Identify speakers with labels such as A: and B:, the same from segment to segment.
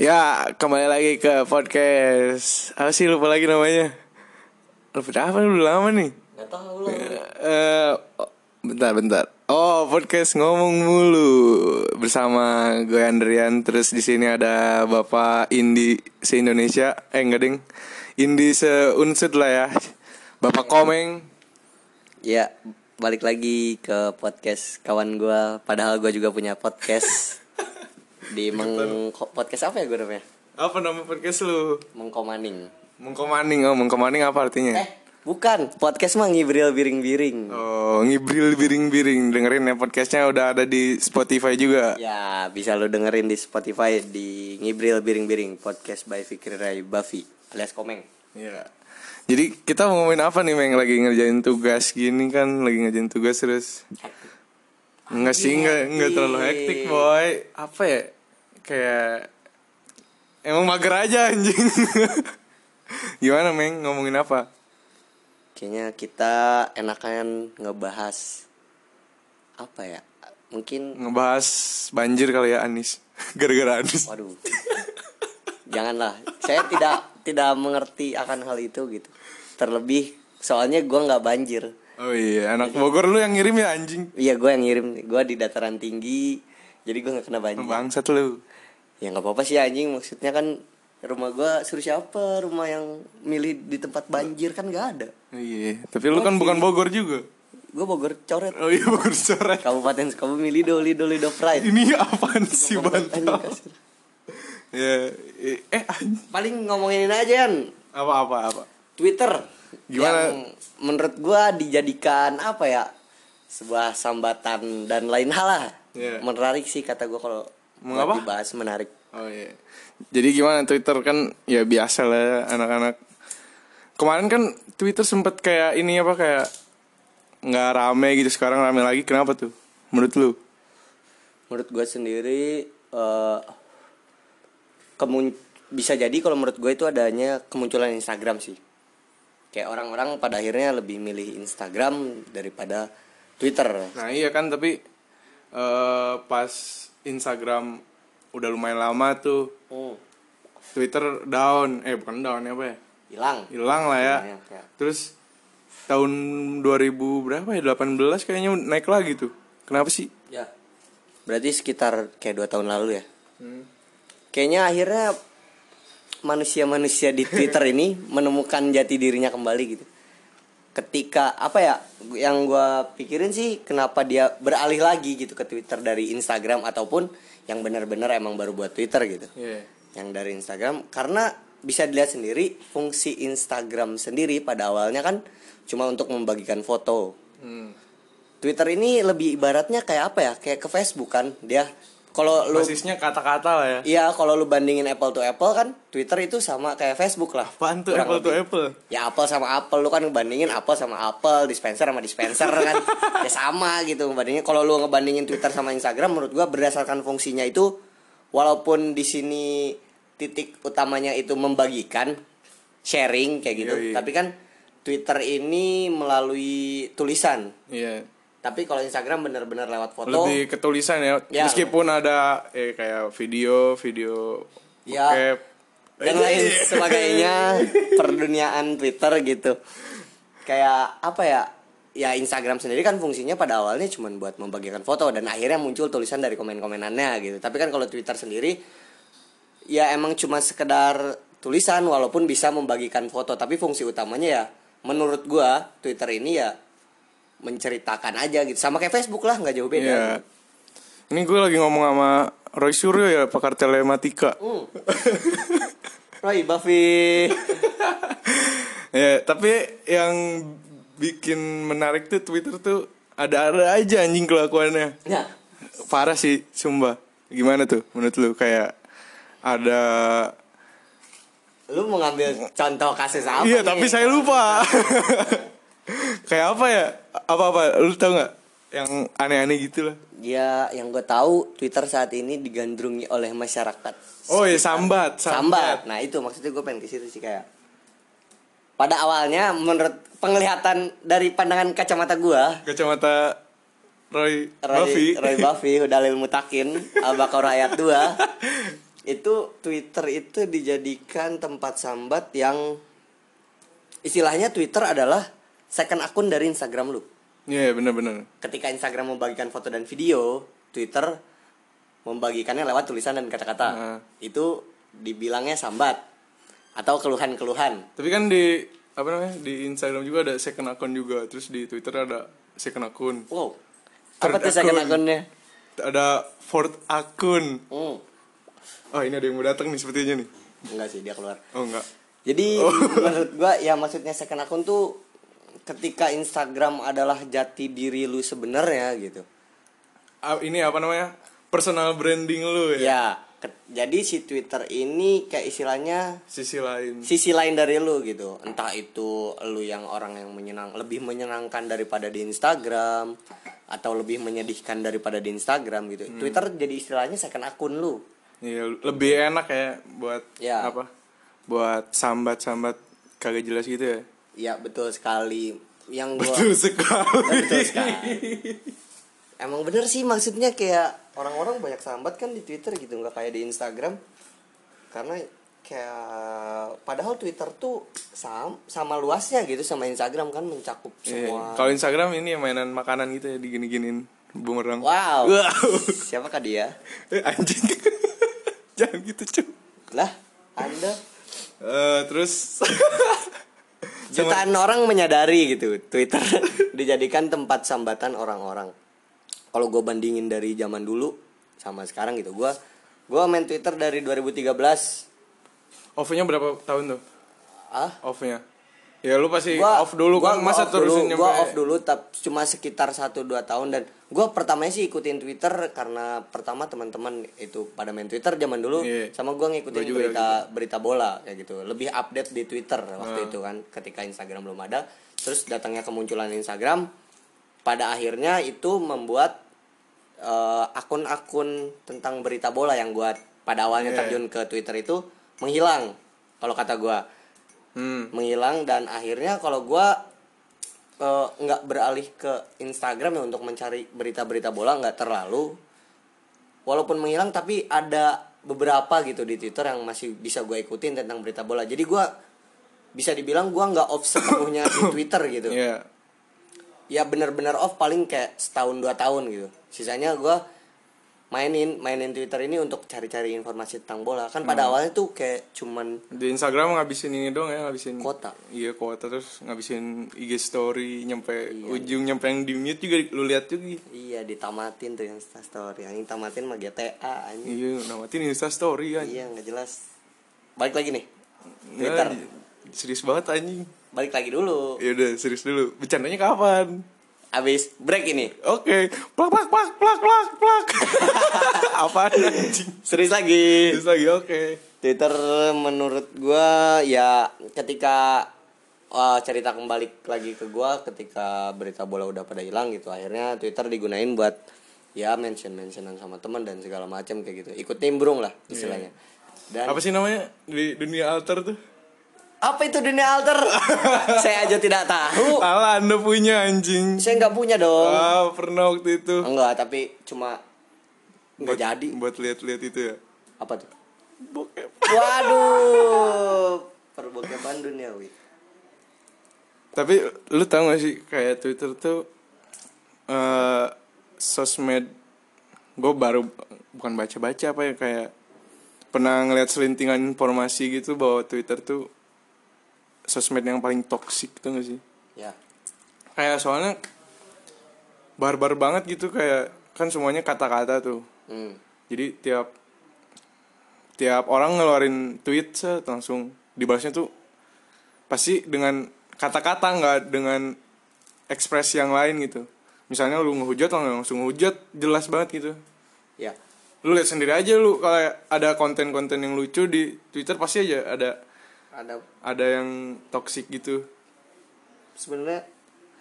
A: Ya, kembali lagi ke podcast. Apa sih lupa lagi namanya? Lupa apa udah lama nih?
B: Gak tahu lah.
A: Eh, oh, bentar, bentar. Oh, podcast ngomong mulu bersama gue Andrian. Terus di sini ada Bapak Indi se Indonesia. Eh, enggak ding. Indi seunsut lah ya. Bapak Komeng.
B: Ya, balik lagi ke podcast kawan gua Padahal gua juga punya podcast di meng ko- podcast apa ya gua namanya?
A: Apa nama podcast lu?
B: Mengkomaning.
A: Mengkomaning. Oh, mengkomaning apa artinya?
B: Eh, bukan. Podcast mah ngibril biring-biring.
A: Oh, ngibril biring-biring dengerin ya podcastnya udah ada di Spotify juga.
B: Ya, bisa lo dengerin di Spotify di Ngibril Biring-Biring podcast by Fikri Rai Buffy alias Komeng.
A: Iya. Jadi kita mau ngomongin apa nih Meng lagi ngerjain tugas gini kan lagi ngerjain tugas terus Enggak sih enggak enggak terlalu hektik boy Apa ya kayak Emang mager aja anjing Gimana Meng ngomongin apa
B: Kayaknya kita enakan ngebahas apa ya? Mungkin
A: Ngebahas banjir kali ya Anis Gara-gara Anis
B: waduh. Janganlah. Saya tidak tidak mengerti akan hal itu gitu. Terlebih soalnya gua nggak banjir.
A: Oh iya anak Bogor lu yang ngirim ya anjing
B: Iya, gua yang ngirim. Gua di dataran tinggi. Jadi gua nggak kena banjir.
A: Bangsat lu
B: Ya nggak apa-apa sih anjing maksudnya kan rumah gua suruh siapa rumah yang milih di tempat banjir kan nggak ada.
A: Iya tapi lu kan bukan Bogor juga
B: Gua Bogor coret.
A: Oh iya Bogor sore
B: Kabupaten Sukabumi Lido Lido Lido Pride.
A: Ini apaan sih
B: Anjing,
A: bantal
B: kasar.
A: Ya, i- eh anj-
B: Paling ngomongin aja kan
A: apa apa apa.
B: Twitter.
A: Gimana?
B: Yang menurut gua dijadikan apa ya? Sebuah sambatan dan lain hal lah.
A: Iya.
B: Menarik sih kata gua kalau
A: Mengapa?
B: buat dibahas menarik.
A: Oh iya. Jadi gimana Twitter kan ya biasa lah ya, anak-anak. Kemarin kan Twitter sempet kayak ini apa kayak nggak rame gitu sekarang rame lagi kenapa tuh? Menurut lu?
B: menurut gue sendiri eh kemun bisa jadi kalau menurut gue itu adanya kemunculan Instagram sih kayak orang-orang pada akhirnya lebih milih Instagram daripada Twitter
A: Nah iya kan tapi eh pas Instagram udah lumayan lama tuh
B: Hmm,
A: Twitter down eh bukan down ya apa ya
B: hilang
A: hilang lah ya
B: Hilang, ya.
A: terus tahun 2000 berapa ya 18 kayaknya naik lagi tuh kenapa sih
B: ya berarti sekitar kayak dua tahun lalu ya kayaknya akhirnya manusia-manusia di Twitter ini menemukan jati dirinya kembali gitu. Ketika apa ya yang gua pikirin sih kenapa dia beralih lagi gitu ke Twitter dari Instagram ataupun yang benar-benar emang baru buat Twitter gitu.
A: Iya.
B: Yang dari Instagram karena bisa dilihat sendiri fungsi Instagram sendiri pada awalnya kan cuma untuk membagikan foto.
A: Hmm.
B: Twitter ini lebih ibaratnya kayak apa ya? Kayak ke Facebook kan dia. Kalau lu
A: Basisnya kata-kata lah ya.
B: Iya, kalau lu bandingin Apple to Apple kan Twitter itu sama kayak Facebook lah.
A: Apaan tuh
B: Kurang
A: Apple to
B: lebih.
A: Apple?
B: Ya Apple sama Apple lu kan ngebandingin Apple sama Apple, dispenser sama dispenser kan. ya sama gitu ngebandingin. Kalau lu ngebandingin Twitter sama Instagram menurut gua berdasarkan fungsinya itu walaupun di sini titik utamanya itu membagikan sharing kayak gitu.
A: Yoi.
B: Tapi kan Twitter ini melalui tulisan.
A: Iya.
B: Tapi kalau Instagram bener-bener lewat foto.
A: Lebih ketulisan ya.
B: Ya.
A: Meskipun ada eh kayak video, video
B: Ya.
A: bokep.
B: dan
A: Eh,
B: lain
A: iya.
B: sebagainya perduniaan Twitter gitu kayak apa ya ya Instagram sendiri kan fungsinya pada awalnya cuma buat membagikan foto dan akhirnya muncul tulisan dari komen-komenannya gitu tapi kan kalau Twitter sendiri ya emang cuma sekedar tulisan walaupun bisa membagikan foto tapi fungsi utamanya ya menurut gua Twitter ini ya menceritakan aja gitu sama kayak Facebook lah nggak jauh beda
A: Iya. Ini gue lagi ngomong sama Roy Suryo ya pakar telematika.
B: Hmm. Roy Buffy
A: Ya, tapi yang bikin menarik tuh Twitter tuh ada-ada aja anjing kelakuannya.
B: ya
A: parah sih sumpah gimana tuh menurut lu kayak ada
B: Lu mau ngambil contoh kasus apa?
A: iya
B: nih?
A: tapi saya lupa kayak apa ya apa apa lu tau nggak yang aneh-aneh gitu lah
B: Ya, yang gue tahu Twitter saat ini digandrungi oleh masyarakat.
A: oh ya sambat
B: iya, Sambat. Nah, itu maksudnya gue pengen ke situ sih kayak pada awalnya menurut penglihatan dari pandangan kacamata gua
A: kacamata Roy,
B: Roy,
A: Buffy.
B: Roy Buffy, Dalil Mutakin, Al-Baqarah ayat 2. itu Twitter itu dijadikan tempat sambat yang istilahnya Twitter adalah second akun dari Instagram lu.
A: Iya, bener-bener.
B: Ketika Instagram membagikan foto dan video, Twitter membagikannya lewat tulisan dan kata-kata.
A: Heeh.
B: Itu dibilangnya sambat atau keluhan-keluhan.
A: Tapi kan di apa namanya? Di Instagram juga ada second account juga, terus di Twitter ada second account.
B: Wow. Apa
A: Third
B: tuh second
A: akun.
B: akunnya?
A: Ada fourth akun.
B: Hmm.
A: Oh, ini ada yang mau datang nih sepertinya nih.
B: Enggak sih dia keluar.
A: Oh, enggak.
B: Jadi menurut gua ya maksudnya second akun tuh ketika Instagram adalah jati diri lu sebenarnya gitu.
A: Ah, ini apa namanya? Personal branding lu ya.
B: Ya, ke- jadi si Twitter ini kayak istilahnya
A: Sisi lain.
B: sisi lain dari lu gitu. Entah itu lu yang orang yang menyenang lebih menyenangkan daripada di Instagram atau lebih menyedihkan daripada di Instagram
A: Hmm.
B: gitu. Twitter jadi istilahnya second akun lu.
A: Iya, lebih enak ya buat
B: Ya.
A: apa? Buat sambat-sambat kagak jelas gitu ya.
B: Ya, betul sekali. Yang gua
A: Betul sekali. Iya.
B: Betul sekali. Emang bener sih maksudnya kayak orang-orang banyak sambat kan di Twitter gitu nggak kayak di Instagram karena kayak padahal Twitter tuh sama sama luasnya gitu sama Instagram kan mencakup
A: Iya.
B: semua.
A: Kalau Instagram ini ya mainan makanan gitu ya digini-giniin bumerang.
B: Wow.
A: Wow.
B: Siapa kah dia?
A: Eh, anjing. Jangan gitu, cuy.
B: Lah, Anda
A: Eh, terus
B: jutaan orang menyadari gitu Twitter dijadikan tempat sambatan orang-orang. Kalau gue bandingin dari zaman dulu sama sekarang gitu, gue gue main Twitter dari 2013
A: off-nya berapa tahun tuh?
B: Ah,
A: Off-nya. Ya lu pasti
B: gua
A: off dulu kan masa
B: gua off dulu,
A: terusin nyampe.
B: gua off dulu tapi cuma sekitar 1 2 tahun dan gua pertamanya sih ikutin Twitter karena pertama teman-teman itu pada main Twitter zaman dulu
A: Iya.
B: sama gua ngikutin
A: Gua juga
B: berita berita bola kayak gitu. Lebih update di Twitter
A: Ah.
B: waktu itu kan ketika Instagram belum ada. Terus datangnya kemunculan Instagram pada akhirnya itu membuat eh, akun-akun tentang berita bola yang gua pada awalnya
A: Iya.
B: terjun ke Twitter itu menghilang kalau kata gua
A: Hmm.
B: menghilang dan akhirnya kalau gua eh, nggak beralih ke Instagram ya untuk mencari berita-berita bola nggak terlalu walaupun menghilang tapi ada beberapa gitu di Twitter yang masih bisa gue ikutin tentang berita bola jadi gua bisa dibilang gua nggak off sepenuhnya di Twitter gitu
A: Iya.
B: ya bener-bener off paling kayak setahun dua tahun gitu sisanya gua mainin mainin Twitter ini untuk cari-cari informasi tentang bola kan pada awalnya tuh kayak cuman
A: Di Instagram ngabisin ini doang ya, ngabisin
B: Kuota.
A: Iya, kuota terus ngabisin IG story nyampe ujung nyampe yang di mute juga lu lihat juga.
B: Iya ditamatin tuh yang story Yang tamatin mah GTA anjing.
A: Iya, namatin Insta story kan. anjing.
B: Iya nggak jelas Balik lagi nih
A: Ya,
B: Twitter
A: serius banget anjing.
B: Balik lagi dulu
A: Ya udah, serius dulu. Bercandanya kapan?
B: Abis break ini
A: Oke, plak plak plak plak plak plak. Apaan anjing?
B: Serius lagi
A: Terus lagi oke.
B: Twitter menurut gua ya ketika uh, cerita kembali lagi ke gua ketika berita bola udah pada hilang gitu akhirnya Twitter digunain buat ya mention mentionan sama teman dan segala macam kayak gitu ikut nimbrung lah istilahnya dan
A: Apa sih namanya di dunia alter tuh?
B: apa itu dunia alter saya aja tidak tahu
A: Salah anda punya anjing.
B: saya nggak punya dong
A: Ah pernah waktu itu.
B: enggak tapi cuma nggak
A: Buat-
B: jadi
A: Buat lihat-lihat itu ya.
B: apa tuh
A: Bokep.
B: waduh ya, perbokepan duniawi
A: Tapi lu tau gak sih kayak Twitter tuh eh sosmed gue baru bukan baca-baca apa ya kayak pernah ngeliat selintingan informasi gitu bahwa Twitter tuh sosmed yang paling toksik tuh gak sih?
B: ya
A: Kayak soalnya barbar banget gitu kayak kan semuanya kata-kata tuh.
B: hmm.
A: Jadi tiap tiap orang ngeluarin tweet set, langsung dibalasnya tuh pasti dengan kata-kata nggak dengan ekspresi yang lain gitu. Misalnya lu ngehujat lang- langsung ngehujat jelas banget gitu.
B: ya
A: Lu lihat sendiri aja lu kalau ada konten-konten yang lucu di Twitter pasti aja ada
B: ada
A: ada yang toksik gitu.
B: sebenarnya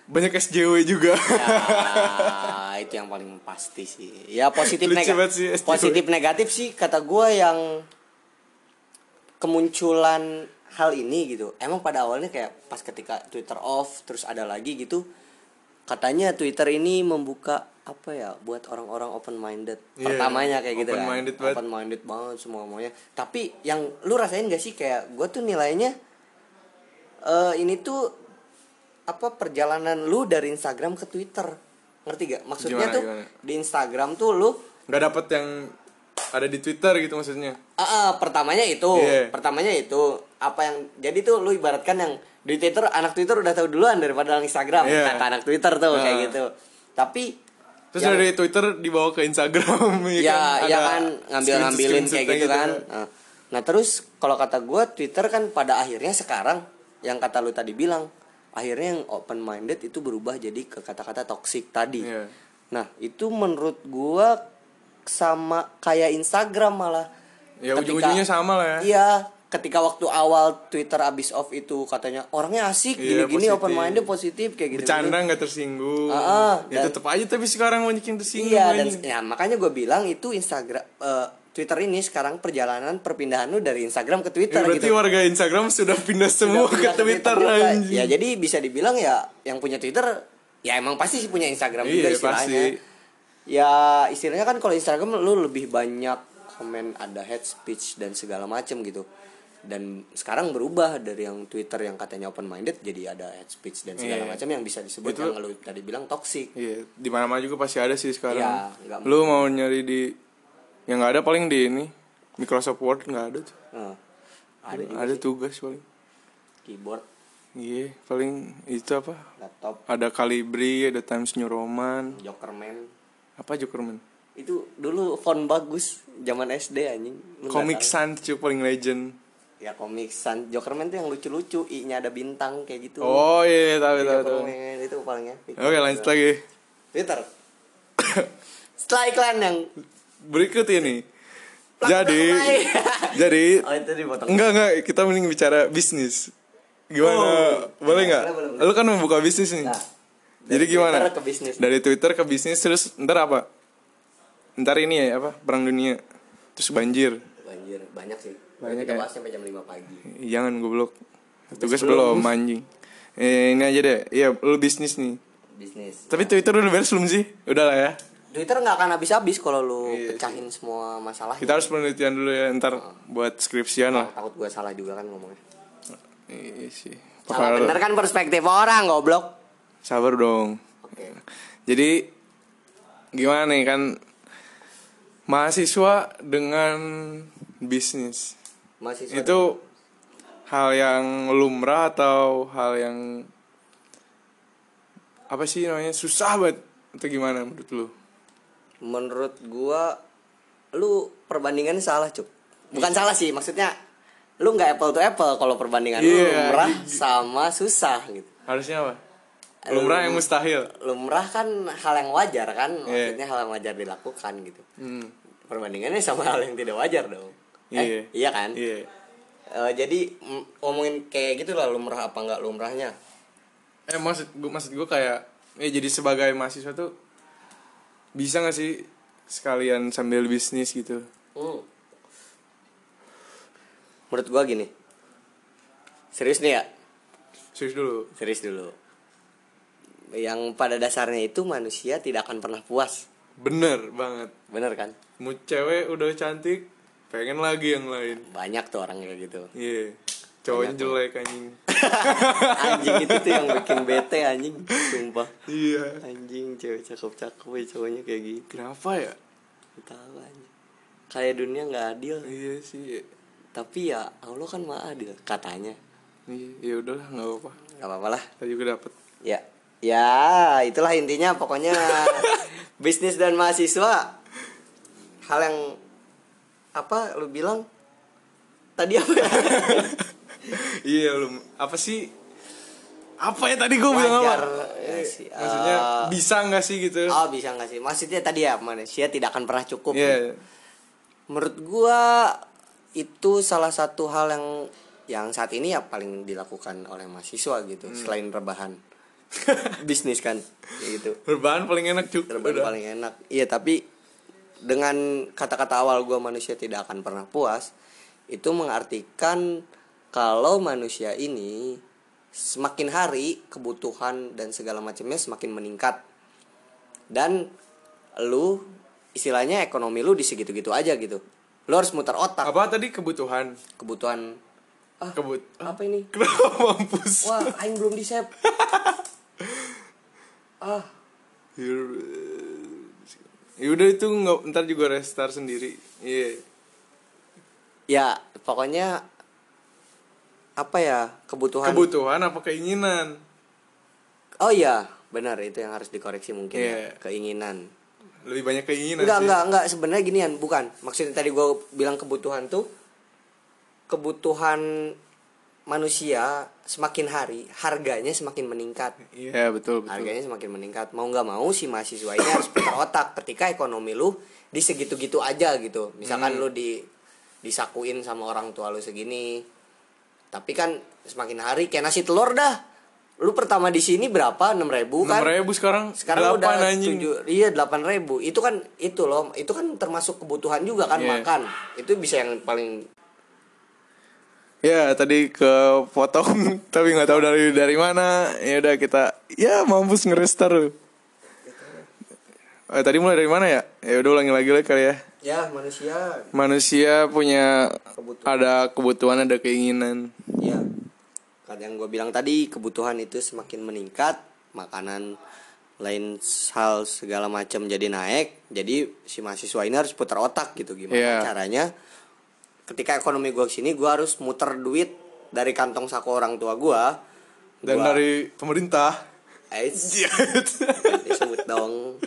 A: Banyak SJW juga.
B: ya, itu yang paling pasti sih ya positif
A: Lucu
B: negatif
A: banget sih, SJW.
B: positif negatif sih kata gue yang kemunculan hal ini gitu emang pada awalnya kayak pas ketika Twitter off terus ada lagi gitu katanya Twitter ini membuka apa ya buat orang-orang open minded
A: Iya,
B: pertamanya kayak gitu
A: open-minded
B: kan
A: banget.
B: open minded banget semua maunya tapi yang lu rasain gak sih kayak gue tuh nilainya eh ini tuh apa perjalanan lu dari Instagram ke Twitter ngerti gak maksudnya
A: Gimana,
B: tuh
A: gimana?
B: di Instagram tuh lu
A: nggak dapet yang ada di Twitter gitu maksudnya
B: Ah, ah, pertamanya itu,
A: Iya.
B: pertamanya itu apa yang jadi tuh lu ibaratkan yang di Twitter anak Twitter udah tahu duluan daripada orang Instagram
A: Iya.
B: kata anak Twitter tuh kayak
A: Ah.
B: gitu. Tapi
A: terus
B: yang-
A: dari Twitter dibawa ke Instagram
B: ya ya
A: Iya Ada
B: kan ngambil ngambilin
A: screenshot-screenshotnya
B: kayak gitu
A: ya.
B: kan. Nah, Nah, terus kalau kata gua Twitter kan pada akhirnya sekarang yang kata lu tadi bilang akhirnya yang open minded itu berubah jadi ke kata-kata toxic tadi.
A: Iya.
B: Nah itu menurut gua sama kayak Instagram malah.
A: Ya,
B: Ketika-
A: ujung-ujungnya sama lah ya.
B: Iya. Ketika waktu awal Twitter abis off itu katanya orangnya asik
A: Iya,
B: gini-gini
A: positif.
B: open minded positif kayak gitu.
A: bercanda nggak tersinggung
B: Ah, ah,
A: ya
B: dan-
A: tetep aja tapi sekarang banyak yang tersinggung
B: Iya dan
A: anjing.
B: ya makanya gue bilang itu Instagram eh, Twitter ini sekarang perjalanan perpindahan lu dari Instagram ke
A: Ya,
B: Twitter
A: berarti
B: gitu.
A: warga Instagram sudah pindah
B: Udah
A: semua
B: pindah
A: ke Twitter
B: juga.
A: anjing.
B: Ya jadi bisa dibilang ya yang punya Twitter ya emang pasti sih punya Instagram
A: Iya,
B: juga istilahnya.
A: pasti.
B: Ya istilahnya kan kalau Instagram lu lebih banyak komen ada hate speech dan segala macem gitu. Dan sekarang berubah dari yang Twitter yang katanya open minded jadi ada hate speech dan segala
A: Iya.
B: macam yang bisa disebut
A: Itu-
B: yang lu tadi bilang toxic.
A: Iya, di mana-mana juga pasti ada sih sekarang.
B: Iya, nggak
A: lu mau nyari di yang nggak ada paling di ini Microsoft Word nggak ada tuh.
B: Nah, ada
A: Ada,
B: juga
A: tugas paling.
B: keyboard,
A: Iya, paling itu apa?
B: laptop,
A: Ada Calibri, ada Times New Roman,
B: Jokerman.
A: apa Jokerman?
B: itu dulu font bagus zaman SD anjing Lu nggak
A: Comic
B: tahu.
A: Sans cuy, paling legend.
B: ya komik san Jokerman tuh yang lucu-lucu i nya ada bintang kayak gitu
A: Oh iya, tahu tahu tahu.
B: Jokerman itu palingnya
A: Oke, lanjut lagi.
B: Twitter setelah iklan yang
A: Berikut ini. Jadi, jadi
B: oh itu dipotong
A: Enggak enggak kita mending bicara bisnis. Gimana?
B: Oh.
A: boleh nggak?
B: Boleh, boleh, boleh.
A: Lu kan membuka bisnis nih.
B: Nah,
A: Jadi gimana?
B: Twitter ke bisnis.
A: Dari Twitter ke bisnis terus ntar apa? Ntar ini ya apa? Perang dunia. Terus banjir.
B: banjir banyak sih
A: Banyak
B: kita
A: ya?
B: bahas sampai jam 5 pagi
A: Jangan goblok. Tugas belum anjing. Eh, ini aja deh. Iya, lu bisnis nih.
B: bisnis
A: Tapi Twitter udah beres belum sih? Udah lah ya.
B: Twitter nggak akan habis-habis kalau lu pecahin semua masalah
A: Iya Kita harus penelitian dulu ya ntar buat skripsian lah.
B: takut gue salah juga kan ngomongnya
A: Iya sih. Perkara-
B: salah bener kan perspektif orang goblok
A: Sabar dong.
B: oke
A: Jadi gimana nih kan mahasiswa dengan bisnis
B: masih
A: itu hal yang lumrah atau hal yang apa sih namanya susah banget atau gimana menurut lu?
B: menurut gua lu perbandingannya salah cuk
A: Iya.
B: bukan salah sih maksudnya lu nggak apple to apple kalau perbandingan lu
A: Iya,
B: lumrah sama susah gitu
A: Harusnya apa? Lumrah yang mustahil.
B: lumrah kan hal yang wajar kan maksudnya hal yang wajar dilakukan gitu
A: Iya. Hmm.
B: perbandingannya sama hal yang tidak wajar dong
A: Iya.
B: eh, iya kan
A: Iya.
B: Eh, jadi mm, ngomongin kayak gitu lah lumrah apa nggak lumrahnya
A: Eh maksud gua maksud gua kayak eh jadi sebagai mahasiswa tuh bisa gak sih sekalian sambil bisnis gitu?
B: Hmm. menurut gua gini serius nih ya
A: Serius dulu.
B: Serius dulu. Yang pada dasarnya itu manusia tidak akan pernah puas.
A: Bener banget.
B: Bener kan?
A: Mau cewek udah cantik, pengen lagi yang lain.
B: Banyak tuh orang kayak gitu.
A: Iya. Cowoknya jelek
B: ya?
A: anjing.
B: Anjing itu tuh yang bikin bete anjing, sumpah.
A: Iya.
B: Anjing cewek cakep-cakep ya cowoknya kayak gitu.
A: Kenapa ya?
B: Nggak Tahu anjing. Kayak dunia nggak adil.
A: Iya sih.
B: Tapi ya Allah kan maha adil katanya.
A: Iya, ya udahlah nggak apa-apa.
B: Gak apa-apa lah.
A: Tadi juga dapet.
B: Ya. Ya, itulah intinya pokoknya bisnis dan mahasiswa hal yang apa lu bilang tadi apa ya?
A: iya belum. Apa sih? Apa ya tadi gue bilang
B: Wajar,
A: apa?
B: ya
A: Eh,
B: sih.
A: Maksudnya
B: Eh,
A: bisa nggak sih gitu?
B: oh bisa nggak sih maksudnya tadi ya manusia tidak akan pernah cukup
A: Iya.
B: menurut gua itu salah satu hal yang yang saat ini ya paling dilakukan oleh mahasiswa gitu
A: Hmm.
B: selain rebahan bisnis kan ya gitu
A: Berbahan paling enak juga.
B: Rebahan paling enak. Iya, tapi dengan kata-kata awal gua manusia tidak akan pernah puas, itu mengartikan kalau manusia ini semakin hari kebutuhan dan segala macamnya semakin meningkat. Dan lu istilahnya ekonomi lu di segitu-gitu aja gitu. Lu harus muter otak
A: Apa tadi kebutuhan?
B: kebutuhan ah,
A: Kebut.
B: apa ini?
A: Kenapa mampus?
B: Wah, aing belum di save. ah,
A: You're- Yaudah Ya itu nggak ntar juga restart sendiri. Iya.
B: ya pokoknya apa ya kebutuhan
A: Kebutuhan apa keinginan?
B: oh iya benar itu yang harus dikoreksi mungkin ya,
A: Iya.
B: keinginan
A: Lebih banyak keinginan
B: enggak
A: sih.
B: enggak enggak sebenarnya ginian bukan maksudnya tadi gue bilang kebutuhan tuh kebutuhan manusia semakin hari harganya semakin meningkat
A: Iya, betul, betul.
B: harganya semakin meningkat mau nggak mau si mahasiswa ini harus putar otak ketika ekonomi lu di segitu-gitu aja gitu misalkan
A: Hmm.
B: lu di disakuin sama orang tua lu segini tapi kan semakin hari kayak nasi telur dah lu pertama di sini berapa enam ribu kan
A: 6.000 sekarang,
B: sekarang
A: delapan
B: udah
A: anjing.
B: tujuh iya delapan ribu itu kan itu loh itu kan termasuk kebutuhan juga kan
A: Iya.
B: makan itu bisa yang paling
A: Ya tadi ke potong tapi nggak tahu dari dari mana. Ya udah kita ya mampus ngerestar. Eh, tadi mulai dari mana ya? Ya udah ulangi lagi lah kali ya.
B: ya manusia
A: Manusia punya
B: Kebutuhan.
A: ada kebutuhan ada keinginan.
B: Ya, kadang gue bilang tadi kebutuhan itu semakin meningkat, makanan lain hal segala macam jadi naik, jadi si mahasiswa ini harus putar otak gitu gimana
A: Iya.
B: caranya. Ketika ekonomi gue sini, gue harus muter duit dari kantong saku orang tua gue.
A: Dan dari pemerintah.
B: disebut dong.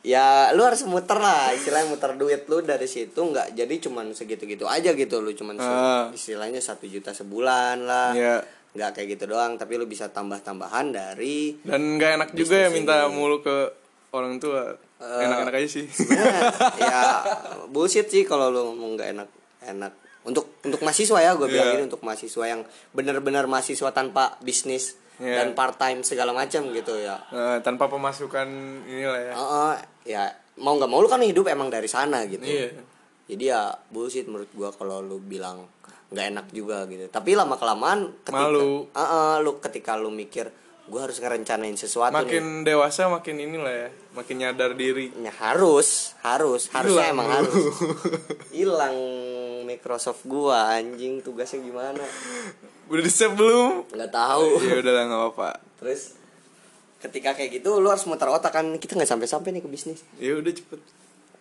B: Ya lu harus muter lah Istilahnya muter duit lu dari situ nggak jadi cuman segitu-gitu aja gitu Lu cuman se-
A: Ah.
B: istilahnya satu juta sebulan lah
A: Iya.
B: nggak kayak gitu doang tapi lu bisa tambah-tambahan dari
A: Dan nggak enak juga ya minta mulu ke orang tua.
B: Eh.
A: Enak-enak aja sih.
B: ya bullshit sih kalau lu ngomong nggak enak enak untuk untuk mahasiswa ya gue
A: Iya.
B: bilang ini untuk mahasiswa yang benar-benar mahasiswa tanpa bisnis
A: Iya.
B: dan part time segala macam gitu ya
A: Eh, tanpa pemasukan inilah ya.
B: Heeh, ya mau nggak mau lu kan hidup emang dari sana gitu
A: Iya.
B: jadi ya bullshit menurut gua kalau lu bilang nggak enak juga gitu tapi lama kelamaan ketika
A: Malu.
B: Heeh, lu ketika lu mikir gua harus ngerencanain sesuatu nih.
A: Makin dewasa makin inilah ya. Makin nyadar diri.
B: Ya, harus, harus,
A: Hilang
B: harusnya emang
A: lu.
B: harus. Hilang Microsoft gua anjing tugasnya gimana?
A: Udah di save belum?
B: nggak tahu.
A: ya udah lah nggak apa-apa
B: Terus ketika kayak gitu lu harus muter otak kan kita nggak sampai-sampai nih ke bisnis.
A: ya udah cepet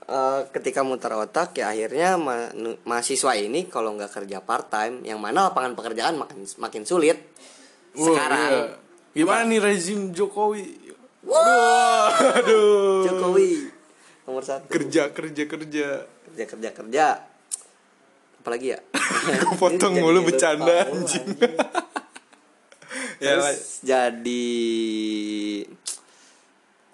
B: Eh, ketika muter otak ya akhirnya ma- nu- mahasiswa ini kalau nggak kerja part time yang mana lapangan pekerjaan makin makin sulit
A: Wah,
B: sekarang
A: iya. gimana nih rezim Jokowi
B: Wah,
A: aduh
B: Jokowi nomor satu
A: kerja kerja kerja
B: kerja kerja kerja apalagi ya
A: Kepotong
B: Jadi
A: mulu
B: lupa
A: bercanda,
B: mulu,
A: anjing.
B: anjing.
A: ya lah.
B: Terus jadi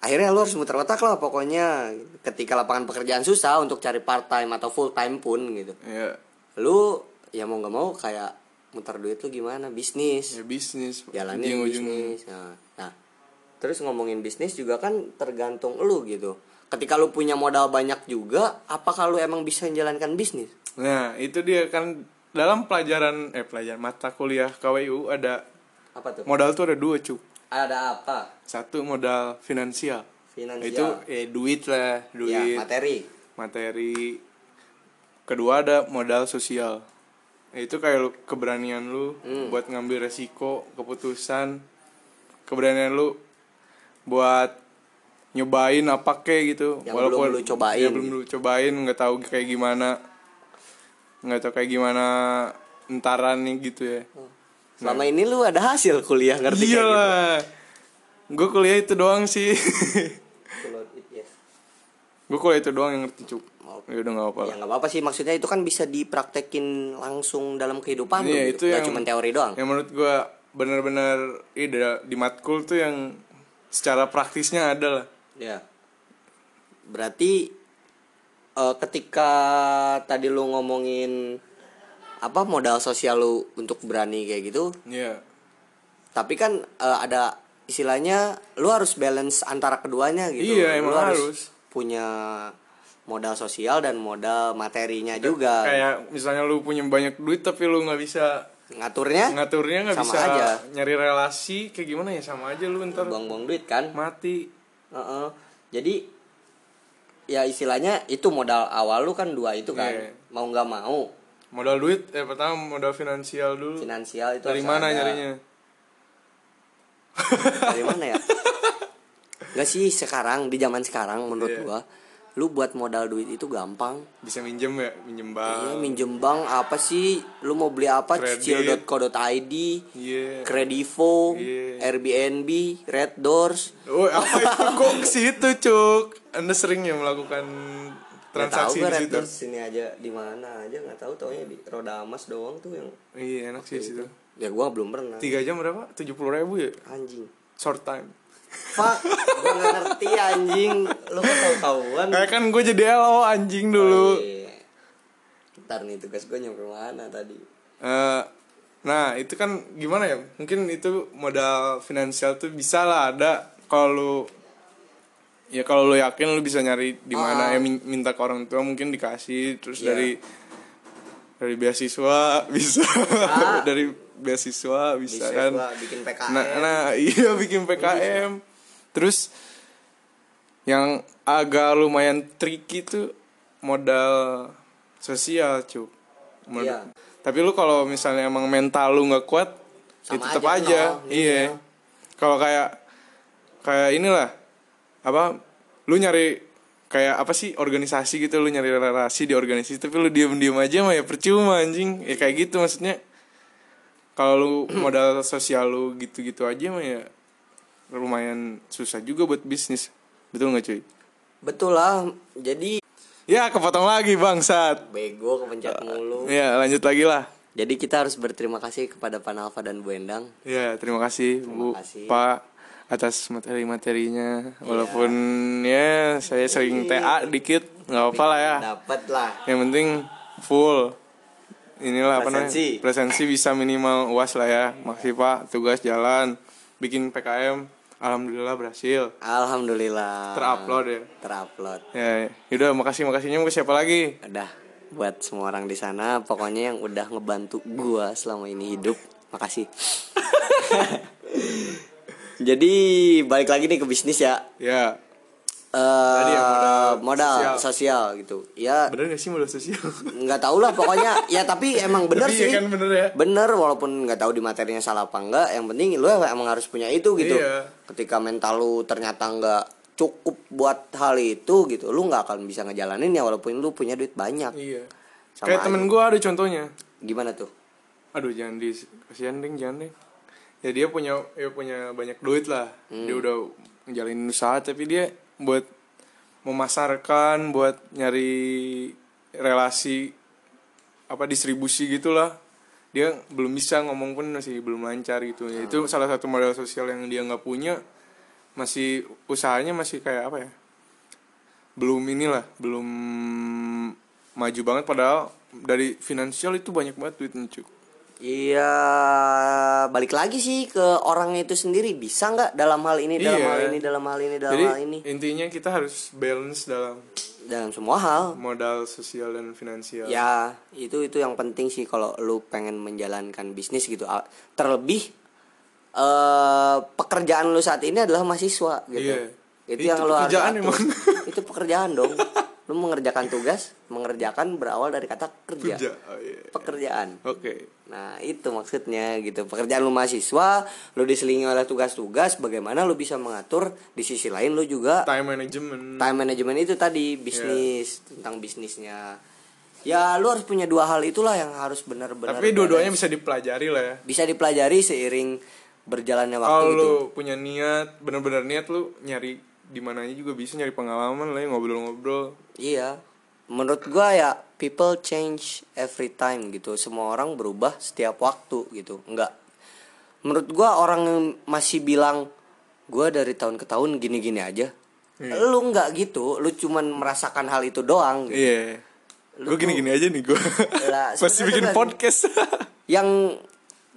B: akhirnya lu harus muter otak lah pokoknya ketika lapangan pekerjaan susah untuk cari part time atau full time pun gitu
A: ya
B: lu ya mau nggak mau kayak muter duit lu gimana bisnis
A: ya bisnis
B: jalanin
A: ujung-ujungnya.
B: bisnis nah, nah. terus ngomongin bisnis juga kan tergantung lu gitu ketika lu punya modal banyak juga apakah lu emang bisa menjalankan bisnis
A: nah itu dia kan dalam pelajaran eh pelajaran mata kuliah KWU ada
B: apa tuh
A: modal tuh ada dua cuk
B: ada apa
A: satu modal finansial
B: Finansial.
A: itu eh duit lah duit
B: ya materi
A: materi kedua ada modal sosial Ya, itu kayak lu, keberanian lu
B: Hmm.
A: buat ngambil resiko keputusan keberanian lu buat nyobain apa kek gitu
B: Yang belum lu cobain. gitu.
A: ya, belum lu cobain nggak tahu kayak gimana nggak tahu kayak gimana entaran nih gitu ya
B: selama ini lu ada hasil kuliah ngerti kayak gitu?
A: iyalah gue kuliah itu doang sih
B: Kalau- yes.
A: gue kuliah itu doang yang ngerti cuk ya udah nggak apa
B: Ya nggak apa-apa sih maksudnya itu kan bisa dipraktekin langsung dalam
A: Iya,
B: kehidupan lu, gitu.
A: itu
B: Nggak
A: yang-
B: cuma teori doang.
A: yang menurut gua bener-bener ide di matkul tuh yang secara praktisnya ada lah
B: Ya. Berarti eh, ketika tadi lu ngomongin apa modal sosial lu untuk berani kayak gitu,
A: iya
B: tapi kan eh, ada istilahnya lu harus balance antara keduanya gitu.
A: Iya,
B: Lu
A: emang harus.
B: punya modal sosial dan modal materinya juga.
A: kayak misalnya lu punya banyak duit tapi lu nggak bisa
B: Ngaturnya
A: ngaturnya nggak
B: Sama
A: bisa
B: aja.
A: nyari relasi kayak gimana ya sama aja lu ntar
B: buang-buang duit kan.
A: mati
B: Heeh. Jadi ya istilahnya itu modal awal lu kan dua itu kan
A: Iya.
B: mau nggak mau
A: modal duit eh pertama modal finansial dulu
B: finansial itu
A: dari
B: harus
A: mana
B: ada.
A: nyarinya
B: dari mana ya nggak sih sekarang di zaman sekarang menurut
A: Iya.
B: gua lu buat modal duit itu gampang
A: bisa minjem ya minjem
B: Iya,
A: bank
B: minjem bank apa sih lu mau beli apa
A: Kredit.
B: cicil.co.id
A: iya
B: kredivo
A: Iya.
B: airbnb red doors
A: oh apa itu kok ke situ cuk anda sering ya melakukan
B: Nggak tahu
A: transaksi
B: gua
A: di
B: red
A: situ
B: doors sini aja di mana aja nggak tahu taunya di roda emas doang tuh yang
A: iya enak sih di situ
B: ya gua belum pernah
A: tiga jam berapa tujuh puluh ribu ya
B: anjing
A: short time
B: Fuck, gue gak ngerti anjing Lu kok tau-tauan
A: Eh kan gue jadi LO anjing dulu
B: Iya. Ntar nih tugas gue nyampe mana tadi
A: Eh, nah itu kan gimana ya mungkin itu modal finansial tuh bisa lah ada kalau lu- ya kalau lu yakin lu bisa nyari di mana ya min- minta ke orang tua mungkin dikasih terus
B: Ah. Iya.
A: dari dari beasiswa bisa
B: Ah.
A: dari beasiswa bisa,
B: Bisa
A: kan
B: gua bikin PKN
A: nah, nah iya bikin PKM terus yang agak lumayan tricky tuh modal sosial cuy
B: Iya.
A: tapi lu kalau misalnya emang mental lu nggak kuat
B: Sama
A: ya tetap
B: aja,
A: aja,
B: nol,
A: iya
B: nol.
A: kalau kayak kayak inilah apa lu nyari kayak apa sih organisasi gitu lu nyari relasi di organisasi tapi lu diem-diem aja mah ya percuma anjing ya kayak gitu maksudnya kalau lu modal sosial lu gitu-gitu aja mah ya lumayan susah juga buat bisnis betul nggak cuy
B: Betul lah Jadi
A: ya kepotong lagi bangsat
B: Bego kepencet mulu
A: ya lanjut lagi lah
B: Jadi kita harus berterima kasih kepada Panalva dan Bu Endang
A: ya terima kasih bu
B: kasih.
A: pak atas materi-materinya walaupun ya saya
B: Iya.
A: sering TA dikit nggak apa lah ya
B: Dapat lah
A: yang penting full inilah apa namanya
B: Presensi.
A: presensi bisa minimal uas lah ya masih pak tugas jalan bikin PKM alhamdulillah berhasil
B: Alhamdulillah
A: terupload ya
B: Terupload
A: ya yaudah makasih makasihnya mau ke siapa lagi
B: Udah buat semua orang di sana pokoknya yang udah ngebantu gua selama ini hidup makasih jadi balik lagi nih ke bisnis ya
A: ya
B: Eh,
A: Tadi ya, modal
B: modal
A: sosial.
B: sosial. gitu ya
A: bener gak sih modal sosial
B: nggak tau lah pokoknya ya tapi emang
A: Tapi
B: bener sih
A: iya kan bener ya
B: bener walaupun nggak tahu di materinya salah apa enggak yang penting lu emang harus punya itu gitu
A: Iya.
B: ketika mental lu ternyata nggak cukup buat hal itu gitu lu nggak akan bisa ngejalanin ya walaupun lu punya duit banyak
A: iya
B: Sama
A: kayak
B: aja.
A: temen gua ada contohnya
B: gimana tuh
A: aduh jangan di kasihan ding jangan ding ya dia punya ya punya banyak duit lah dia udah ngejalanin usaha tapi dia buat memasarkan buat nyari relasi apa distribusi gitulah dia belum bisa ngomong pun masih belum lancar gitu ya itu salah satu modal sosial yang dia nggak punya masih usahanya masih kayak apa ya belum inilah belum maju banget padahal dari finansial itu banyak banget duitnya cuy
B: Iya, balik lagi sih ke orangnya itu sendiri bisa nggak dalam hal ini, dalam
A: Iya.
B: hal ini, dalam hal ini, dalam
A: Jadi
B: hal ini,
A: intinya kita harus balance dalam
B: dalam semua hal.
A: modal sosial dan finansial.
B: Ya, itu itu yang penting sih kalau lu pengen menjalankan bisnis gitu. A- Terlebih eh pekerjaan lu saat ini adalah mahasiswa gitu.
A: Iya.
B: Itu,
A: Itu
B: yang lu harus
A: pekerjaan
B: atur.
A: emang.
B: Itu pekerjaan dong. lu mengerjakan tugas, mengerjakan berawal dari kata kerja.
A: Kerja. Oh, iya.
B: Pekerjaan.
A: Oke.
B: Nah itu maksudnya gitu Pekerjaan lu mahasiswa Lu diselingi oleh tugas-tugas Bagaimana lu bisa mengatur Di sisi lain lu juga
A: Time management.
B: Time management itu
A: Iya.
B: tadi Bisnis Tentang bisnisnya Ya lu harus punya dua hal itulah Yang harus benar-benar
A: Tapi dua-duanya bisa dipelajari lah ya.
B: Bisa dipelajari seiring Berjalannya waktu
A: Kalau
B: gitu
A: lu punya niat, bener-bener niat lu nyari di mananya juga bisa nyari pengalaman lah ya, ngobrol-ngobrol.
B: Iya Menurut gua ya People change every time gitu Semua orang berubah setiap waktu gitu Enggak Menurut gua orang yang masih bilang gua dari tahun ke tahun gini-gini aja
A: Iya.
B: Lu enggak gitu Lu cuman merasakan hal itu doang gitu.
A: Iya. Gue gini-gini aja nih gue.
B: Lah,
A: Masih
B: sebenarnya
A: bikin
B: kan-
A: podcast.
B: Yang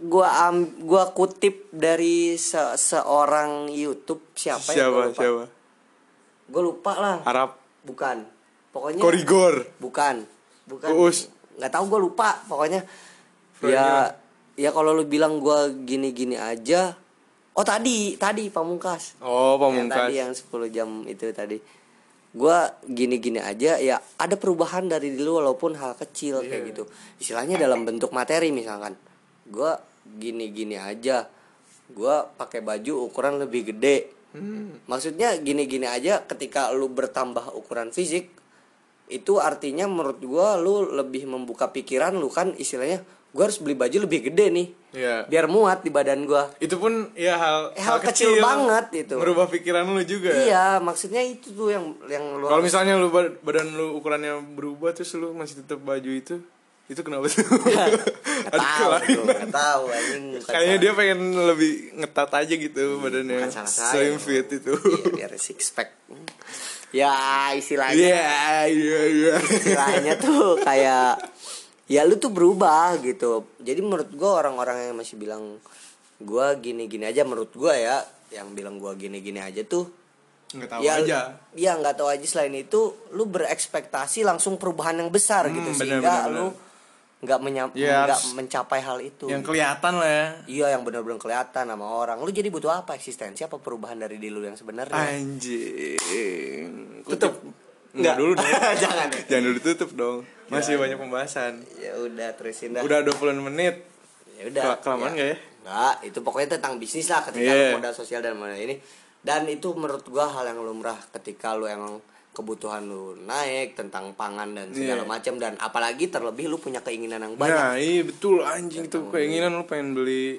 B: gua am, gua kutip dari se- seorang YouTube siapa, ya gua
A: siapa?
B: lupa.
A: Siapa?
B: Gua lupa lah.
A: Arab.
B: Bukan. Pokoknya
A: Korigor.
B: Bukan. Bukan.
A: Uus.
B: Nggak tahu gue lupa pokoknya.
A: Frontnya.
B: Ya ya kalau lu bilang gua gini-gini aja. Oh tadi, tadi pamungkas.
A: Oh,
B: Yang tadi
A: pamungkas.
B: yang 10 jam itu tadi. gue gini-gini aja ya ada perubahan dari dulu walaupun hal kecil kayak
A: Iya.
B: gitu istilahnya dalam bentuk materi misalkan gue gini-gini aja gue pakai baju ukuran lebih gede
A: Hmm.
B: maksudnya gini-gini aja ketika lu bertambah ukuran fisik itu artinya menurut gue lu lebih membuka pikiran lu kan istilahnya gue harus beli baju lebih gede nih
A: Iya.
B: biar muat di badan gue
A: itu pun ya hal
B: Eh, hal kecil banget itu.
A: merubah pikiran lu juga ya.
B: Iya, maksudnya itu tuh yang yang lu
A: kalau misalnya lu bad- badan lu ukurannya berubah terus lu masih tetap baju itu itu kenapa tuh
B: Iya. Nggak
A: Ada
B: tahu
A: kelainan.
B: tuh, nggak tahu anjing. bukan
A: kayaknya
B: salah. Hmm,
A: dia pengen lebih ngetat aja gitu badannya
B: bukan salah saya.
A: slim fit itu
B: Iya, biar six pack. Ya, istilahnya
A: iya iya iya
B: istilahnya tuh kayak ya lu tuh berubah gitu. Jadi menurut gua orang-orang yang masih bilang gua gini-gini aja menurut gua ya, yang bilang gua gini-gini aja tuh
A: nggak tahu
B: ya,
A: aja
B: Ya nggak tahu aja selain itu lu berekspektasi langsung perubahan yang besar gitu
A: bener,
B: sehingga
A: bener,
B: lu nggak menyam-
A: Ya,
B: nggak
A: harus-
B: mencapai hal itu.
A: yang kelihatan lah ya
B: Iya yang benar-benar kelihatan sama orang. Lu jadi butuh apa eksistensi apa perubahan dari diri lu
A: Ah,
B: yang sebenarnya?
A: anjing
B: Tutup.
A: Enggak dulu dong
B: Jangan. Iya,
A: Jangan dulu tutup dong Masih banyak pembahasan
B: Ya udah terusin dah.
A: Udah 20 menit
B: Ya udah.
A: Kela- kelamaan nggak ya?
B: Nggak, itu pokoknya tentang bisnis lah ketika lu
A: Iya.
B: modal sosial dan modal ini. Dan itu menurut gua hal yang lumrah ketika lu emang kebutuhan lu naik tentang pangan dan segala
A: Iya.
B: macam dan apalagi terlebih lu punya keinginan yang banyak.
A: Nah iya betul anjing tuh Keinginan lu pengen beli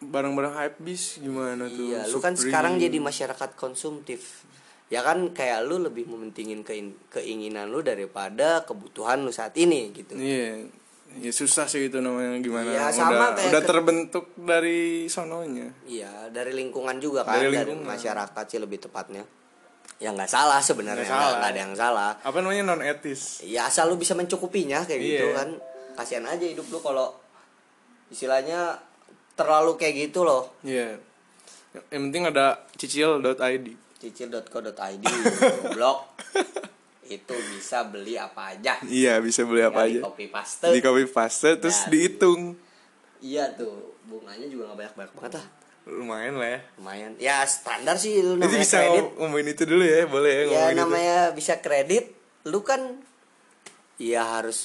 A: Barang-barang hype bis gimana tuh
B: Iya, lu kan
A: Supreme.
B: sekarang jadi masyarakat konsumtif. Ya kan kayak lu lebih mementingin kein- keinginan lu daripada kebutuhan lu saat ini gitu.
A: Iya Ya susah sih itu namanya gimana Udah,
B: Iya, sama kayak
A: udah
B: ke-
A: terbentuk dari sononya
B: Iya, dari lingkungan juga kan,
A: Dari
B: dari,
A: lingkungan.
B: masyarakat sih lebih tepatnya. Ya nggak salah sebenarnya,
A: Nggak salah.
B: nggak nggak ada yang salah.
A: Apa namanya non etis
B: Ya asal lu bisa mencukupinya kayak gitu
A: Iya.
B: kan. Kasihan aja hidup lu kalau istilahnya terlalu kayak gitu loh.
A: Iya Yang penting ada cicil.id
B: cicil.co.id blog itu bisa beli apa aja.
A: Iya bisa beli apa
B: Tinggal
A: aja
B: Di copy paste.
A: Di copy paste terus
B: Dan-
A: dihitung
B: Iya tuh, bunganya juga nggak banyak-banyak banget lah.
A: Lumayan lah ya
B: Lumayan. Ya standar sih lu
A: Jadi
B: namanya
A: bisa
B: kredit.
A: ngom- ngomongin itu dulu ya, boleh ya
B: ya
A: ngomongin itu.
B: namanya bisa kredit lu kan ya harus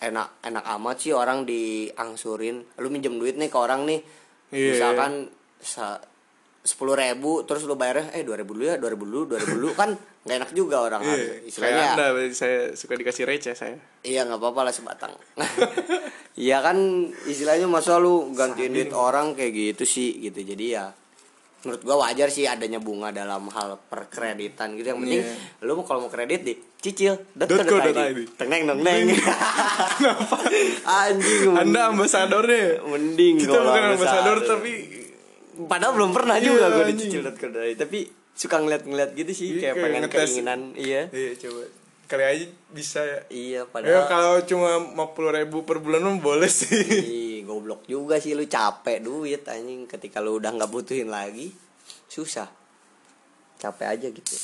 B: enak enak amat sih orang diangsurin lu minjem duit nih ke orang nih
A: Iya.
B: misalkan sepuluh ribu terus lu bayarnya eh dua ribu dulu ya dua ribu dulu dua ribu dulu kan nggak enak juga orang
A: Iya,
B: harus
A: kayak
B: istilahnya
A: Anda, berarti saya suka dikasih receh saya.
B: Iya nggak apa-apa lah sebatang. Iya kan istilahnya masa lu gantiin duit orang kayak gitu sih gitu jadi ya menurut gua wajar sih adanya bunga dalam hal perkreditan gitu yang penting
A: Iya.
B: lu mau kalau mau kredit di cicil
A: .co.id.
B: teneng neng neng anjing
A: Anda ambasadornya.
B: mending
A: Kita
B: gua
A: bukan
B: lah
A: ambasador
B: ambasador.
A: tapi
B: padahal belum pernah
A: Iya,
B: juga gua di
A: anjing.
B: cicil.co.id tapi suka ngeliat-ngeliat gitu sih
A: Iya,
B: kayak
A: kayak
B: pengen
A: ngetes.
B: keinginan iya
A: iya coba. Kali aja bisa ya.
B: iya
A: Ya,
B: padahal
A: kalau cuma 50 ribu per bulan mah boleh sih.
B: Ih, goblok juga sih lu capek duit anjing ketika lu udah nggak butuhin lagi susah capek aja gitu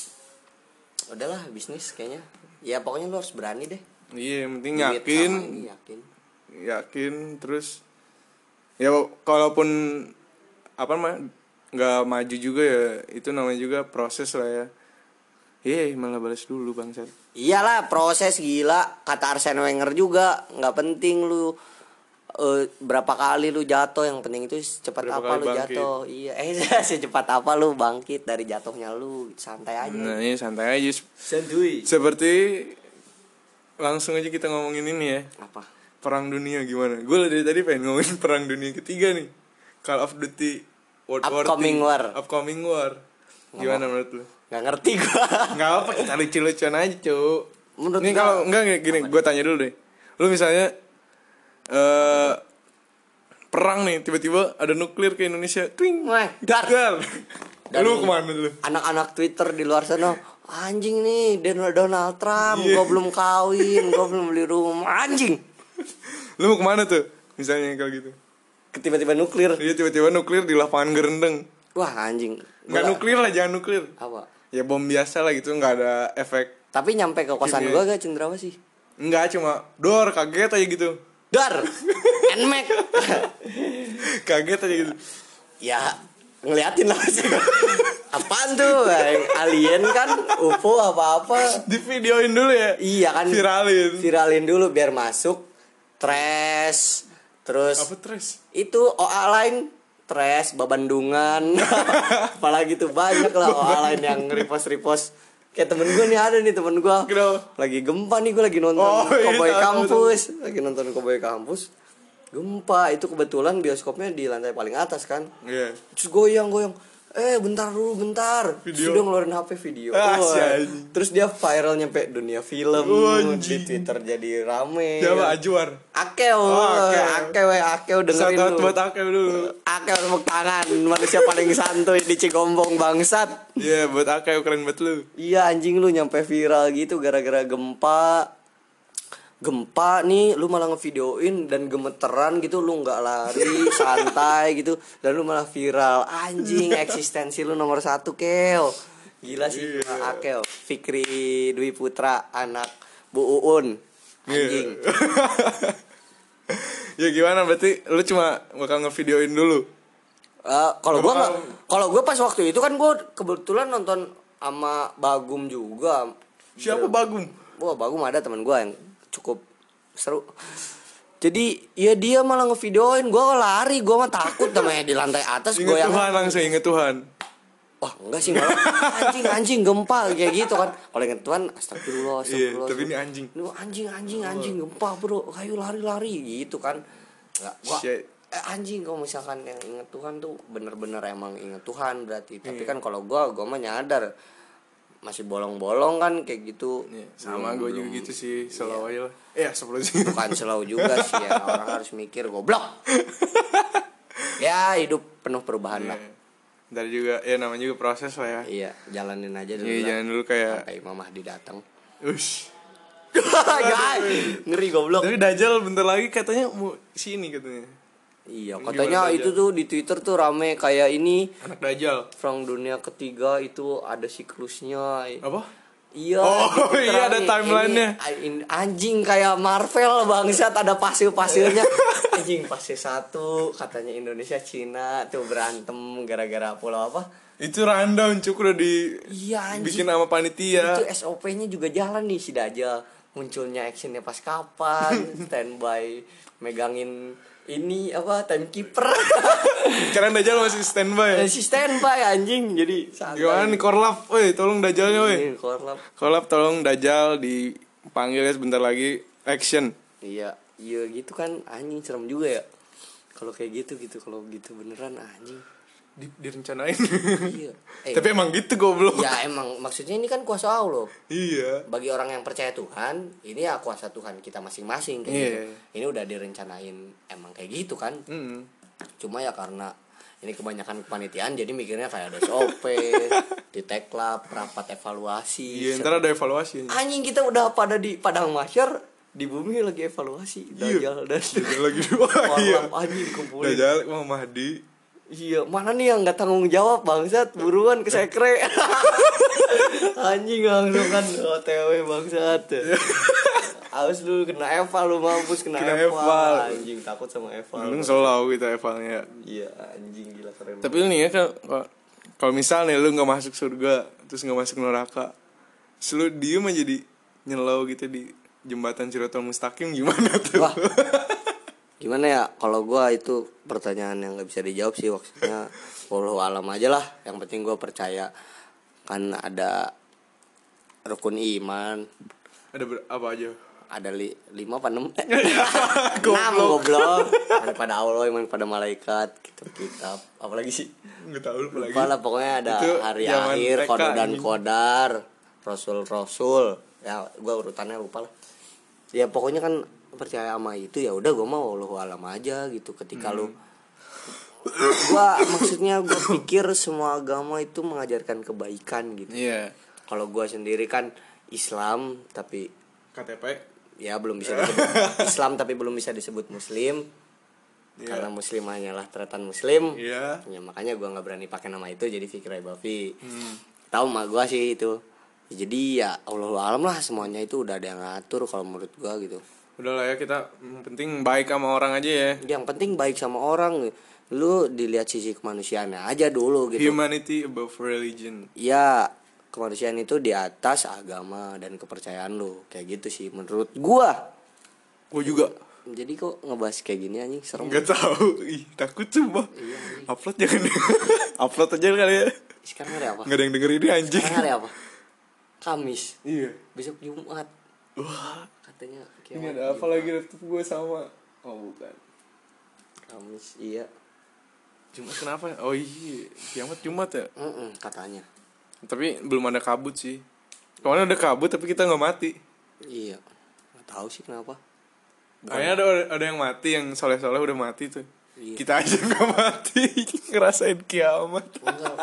B: udahlah bisnis kayaknya ya pokoknya lu harus berani deh
A: Iya, yang penting
B: Duit
A: yakin,
B: sama ini, yakin
A: yakin terus ya kalaupun apa mah nggak maju juga ya itu namanya juga proses lah ya. Iya, malah balas dulu bangsat.
B: iyalah proses gila kata Arsene Wenger juga nggak penting lu eh, berapa kali lu jatuh yang penting itu secepat
A: Berapa
B: apa
A: kali
B: lu
A: bangkit.
B: jatuh iya eh secepat apa lu bangkit dari jatuhnya lu santai aja
A: Nah, ini santai aja
B: santuy
A: Seperti langsung aja kita ngomongin ini ya
B: apa
A: perang dunia gimana? Gue dari tadi pengen ngomongin perang dunia ketiga nih. Call of Duty World
B: Upcoming
A: War,
B: war.
A: III. Upcoming war. Gimana menurut lu?
B: nggak ngerti gua
A: Nggak apa kita lucu-lucuan aja cu
B: Menurut
A: Ini
B: gua-
A: kalau enggak gini gue tanya dulu deh Lu misalnya eh Perang nih tiba-tiba ada nuklir ke Indonesia Kling
B: Weh, dar.
A: Dar.
B: Dan-
A: Lu kemana lu?
B: anak-anak Twitter di luar sana anjing nih Dan- Donald Trump gua belum kawin gua belum beli rumah anjing
A: Lu mau kemana tuh? Misalnya kalau gitu
B: tiba-tiba nuklir
A: Iya tiba-tiba nuklir di lapangan gerendeng
B: wah anjing
A: Nggak
B: Gua-
A: nuklir lah jangan nuklir
B: apa
A: Ya bom biasa lah gitu nggak ada efek
B: tapi nyampe ke kosan
A: Gini.
B: gua gak cenderawa sih
A: Nggak cuma dor kaget aja gitu
B: dar enmek
A: Kaget aja gitu
B: ya ngeliatin lah sih apaan tuh Yang alien kan UFO apa-apa
A: Di videoin dulu ya.
B: iya kan
A: Viralin.
B: viralin dulu biar masuk trash terus
A: Apa tres?
B: itu OA lain trash babandungan apalagi tuh banyak lah OA lain yang repost repost kayak temen gue nih ada nih temen gue
A: Kenapa?
B: lagi gempa nih gue lagi nonton
A: Oh, iya,
B: Cowboy
A: tahu,
B: Kampus lagi nonton Cowboy Kampus gempa itu kebetulan bioskopnya di lantai paling atas kan
A: Iya.
B: terus goyang goyang eh bentar dulu bentar Terus
A: Video.
B: dia ngeluarin HP video
A: Ah,
B: Wah.
A: si anjing.
B: terus dia viral nyampe dunia film
A: Wah,
B: di
A: anjing.
B: Twitter jadi rame
A: Jawa Ajuar.
B: Akeo,
A: Oh, Akeo.
B: Akeo, Akeo oh, dengerin
A: Shout out
B: lu.
A: buat Akeo dulu.
B: Akeo tepuk tangan, manusia paling santuy di Cigombong bangsat.
A: Iya, buat Akeo keren banget lu.
B: Iya anjing lu nyampe viral gitu gara-gara gempa. Gempa nih lu malah ngevideoin dan gemeteran gitu lu nggak lari santai gitu dan lu malah viral anjing eksistensi lu nomor satu keo gila sih gua,
A: Iya.
B: akeo Fikri Dwi Putra anak Bu Uun anjing
A: Iya. ya gimana berarti lu cuma bakal ngevideoin dulu.
B: Eh, kalau gua nggak-
A: Kalau-
B: kalau gua pas waktu itu kan gua kebetulan nonton sama Bagum juga.
A: Siapa
B: Iya.
A: Bagum?
B: Wah, Bagum ada teman gua yang cukup seru. Jadi ya dia malah ngevideoin gua lari, gua mah takut namanya di lantai atas
A: Ingat
B: gua yang
A: Tuhan langsung inget Tuhan.
B: wah Oh, enggak sih malah anjing anjing gempa kayak gitu kan. Kalau inget Tuhan
A: Iya,
B: astagfirullah astagfirullah.
A: tapi ini anjing.
B: Ini anjing anjing anjing gempa bro kayu lari-lari gitu kan nggak gua
A: Shit.
B: eh, anjing kalau misalkan yang inget Tuhan tuh bener-bener emang inget Tuhan berarti tapi
A: Iya.
B: kan kalau gua gua mah nyadar masih bolong-bolong kan kayak gitu
A: Iya, sama
B: Belum-
A: gue juga
B: belum-
A: gitu sih, selalu aja lah. Iya, sebelum sih.
B: bukan slow juga sih ya orang harus mikir goblok ya hidup penuh perubahan lah
A: Ntar juga, ya namanya juga proses lah ya.
B: iya jalanin aja dulu
A: Iya,
B: lah.
A: jangan dulu kayak,
B: sampai Imam Mahdi datang
A: ush.
B: Jangan. ngeri goblok
A: Tapi Dajjal bentar lagi katanya mau sini katanya.
B: iya
A: Gimana
B: katanya
A: aja?
B: itu tuh di Twitter tuh rame kayak ini
A: Anak Dajjal.
B: perang dunia ketiga itu ada siklusnya
A: Apa?
B: iya
A: Oh,
B: diterangin.
A: iya, ada
B: Ini-
A: timelinenya.
B: a- in- anjing kayak Marvel bangsat ada pasir pasirnya anjing pasir satu katanya Indonesia Cina tuh berantem gara-gara pulau apa
A: Itu rundown cuk udah di
B: Iya, anjing.
A: bikin sama
B: itu
A: panitia.
B: SOP-nya juga jalan nih si Dajjal munculnya actionnya pas kapan standby megangin ini apa timekeeper eh.
A: Sekarang Dajjal masih standby.
B: si standby anjing jadi santai. Iya,
A: Gimana nih Korlap, woi tolong Dajjalnya woi.
B: Ini korlap
A: Korlap tolong Dajjal dipanggil ya sebentar lagi action.
B: Iya, iya gitu kan anjing serem juga ya. Kalau kayak gitu gitu, kalau gitu beneran anjing.
A: Di, direncanain.
B: Iya. Eh,
A: Tapi emang gitu goblok.
B: ya emang maksudnya ini kan kuasa Allah.
A: Iya.
B: Bagi orang yang percaya Tuhan, ini ya kuasa Tuhan kita masing-masing kayak
A: Iya.
B: gitu. Ini udah direncanain emang kayak gitu kan.
A: Mm.
B: Cuma ya karena ini kebanyakan kepanitiaan jadi mikirnya kayak ada SOP, di teklap, rapat evaluasi.
A: Iya, ntar ada evaluasi. anjing.
B: Anjing kita udah pada di padang mahsyar, di bumi lagi evaluasi Dajjal dan
A: Dajjal lagi dua. Iya.
B: Korlap ah, anjing kumpulin.
A: Dajjal mau Mahdi.
B: Iya, mana nih yang nggak tanggung jawab bangsat? Buruan ke sekre. Anjing langsung kan OTW bangsat. Awas lu kena Eva lu mampus kena,
A: Kena
B: Eva.
A: eval.
B: Anjing takut sama Eva.
A: Untung selalu gitu evalnya.
B: Iya, anjing gila keren.
A: Tapi ini ya kalau- kalau kalau misal nih lu nggak masuk surga terus nggak masuk neraka, terus lu diem aja di nyelau gitu di jembatan Siratul Mustaqim gimana tuh?
B: Wah. Gimana ya kalau gua itu pertanyaan yang nggak bisa dijawab sih maksudnya walau alam aja lah. Yang penting gua percaya kan ada rukun iman,
A: Ada ber- apa aja?
B: ada li, lima apa enam enam goblok ada pada Allah iman pada malaikat kitab kitab apalagi sih
A: Nggak tahu lu lagi.
B: lupa lah pokoknya ada
A: Itu
B: hari
A: zaman
B: akhir
A: TK,
B: kodar dan
A: anjing.
B: kodar rasul rasul ya gua urutannya lupa lah ya pokoknya kan percaya sama itu ya udah gua mau Allah alam aja gitu ketika
A: Hmm.
B: lu gua maksudnya gua pikir semua agama itu mengajarkan kebaikan gitu
A: Iya.
B: kalau gua sendiri kan Islam tapi
A: KTP.
B: ya belum bisa disebut Islam tapi belum bisa disebut Muslim
A: Iya.
B: karena Muslim hanyalah tretan Muslim
A: Iya.
B: ya makanya gua nggak berani pakai nama itu jadi Fikri Bafi
A: Hmm.
B: tahu mak gua sih itu Ya, jadi ya Allah alam lah semuanya itu udah ada yang ngatur kalau menurut gua gitu
A: Udah lah ya kita yang penting baik sama orang aja ya.
B: yang penting baik sama orang lu dilihat sisi kemanusiaannya aja dulu gitu
A: Humanity above religion.
B: ya kemanusiaan itu di atas agama dan kepercayaan lu kayak gitu sih menurut gua
A: Gue juga
B: jadi kok ngebahas kayak gini anjing serem
A: nggak tahu. Ih, takut coba. Upload jangan. Upload aja kali ya.
B: sekarang hari apa
A: Nggak ada yang denger ini anjing.
B: sekarang ya? hari apa Kamis
A: Iya.
B: besok Jumat wah katanya
A: Ini
B: kiamat
A: ada apa lagi laptop gue sama? Oh, bukan.
B: Kamis iya
A: Jumat kenapa? Oh iya, kiamat Jumat ya.
B: Mm-mm, katanya
A: Tapi belum ada kabut sih. Kemarin ada kabut tapi kita nggak mati.
B: iya nggak tahu sih kenapa
A: Kayaknya ada ada yang mati yang soleh-soleh udah mati tuh.
B: Iya.
A: Kita aja nggak mati ngerasain kiamat.
B: Oh, Enggak.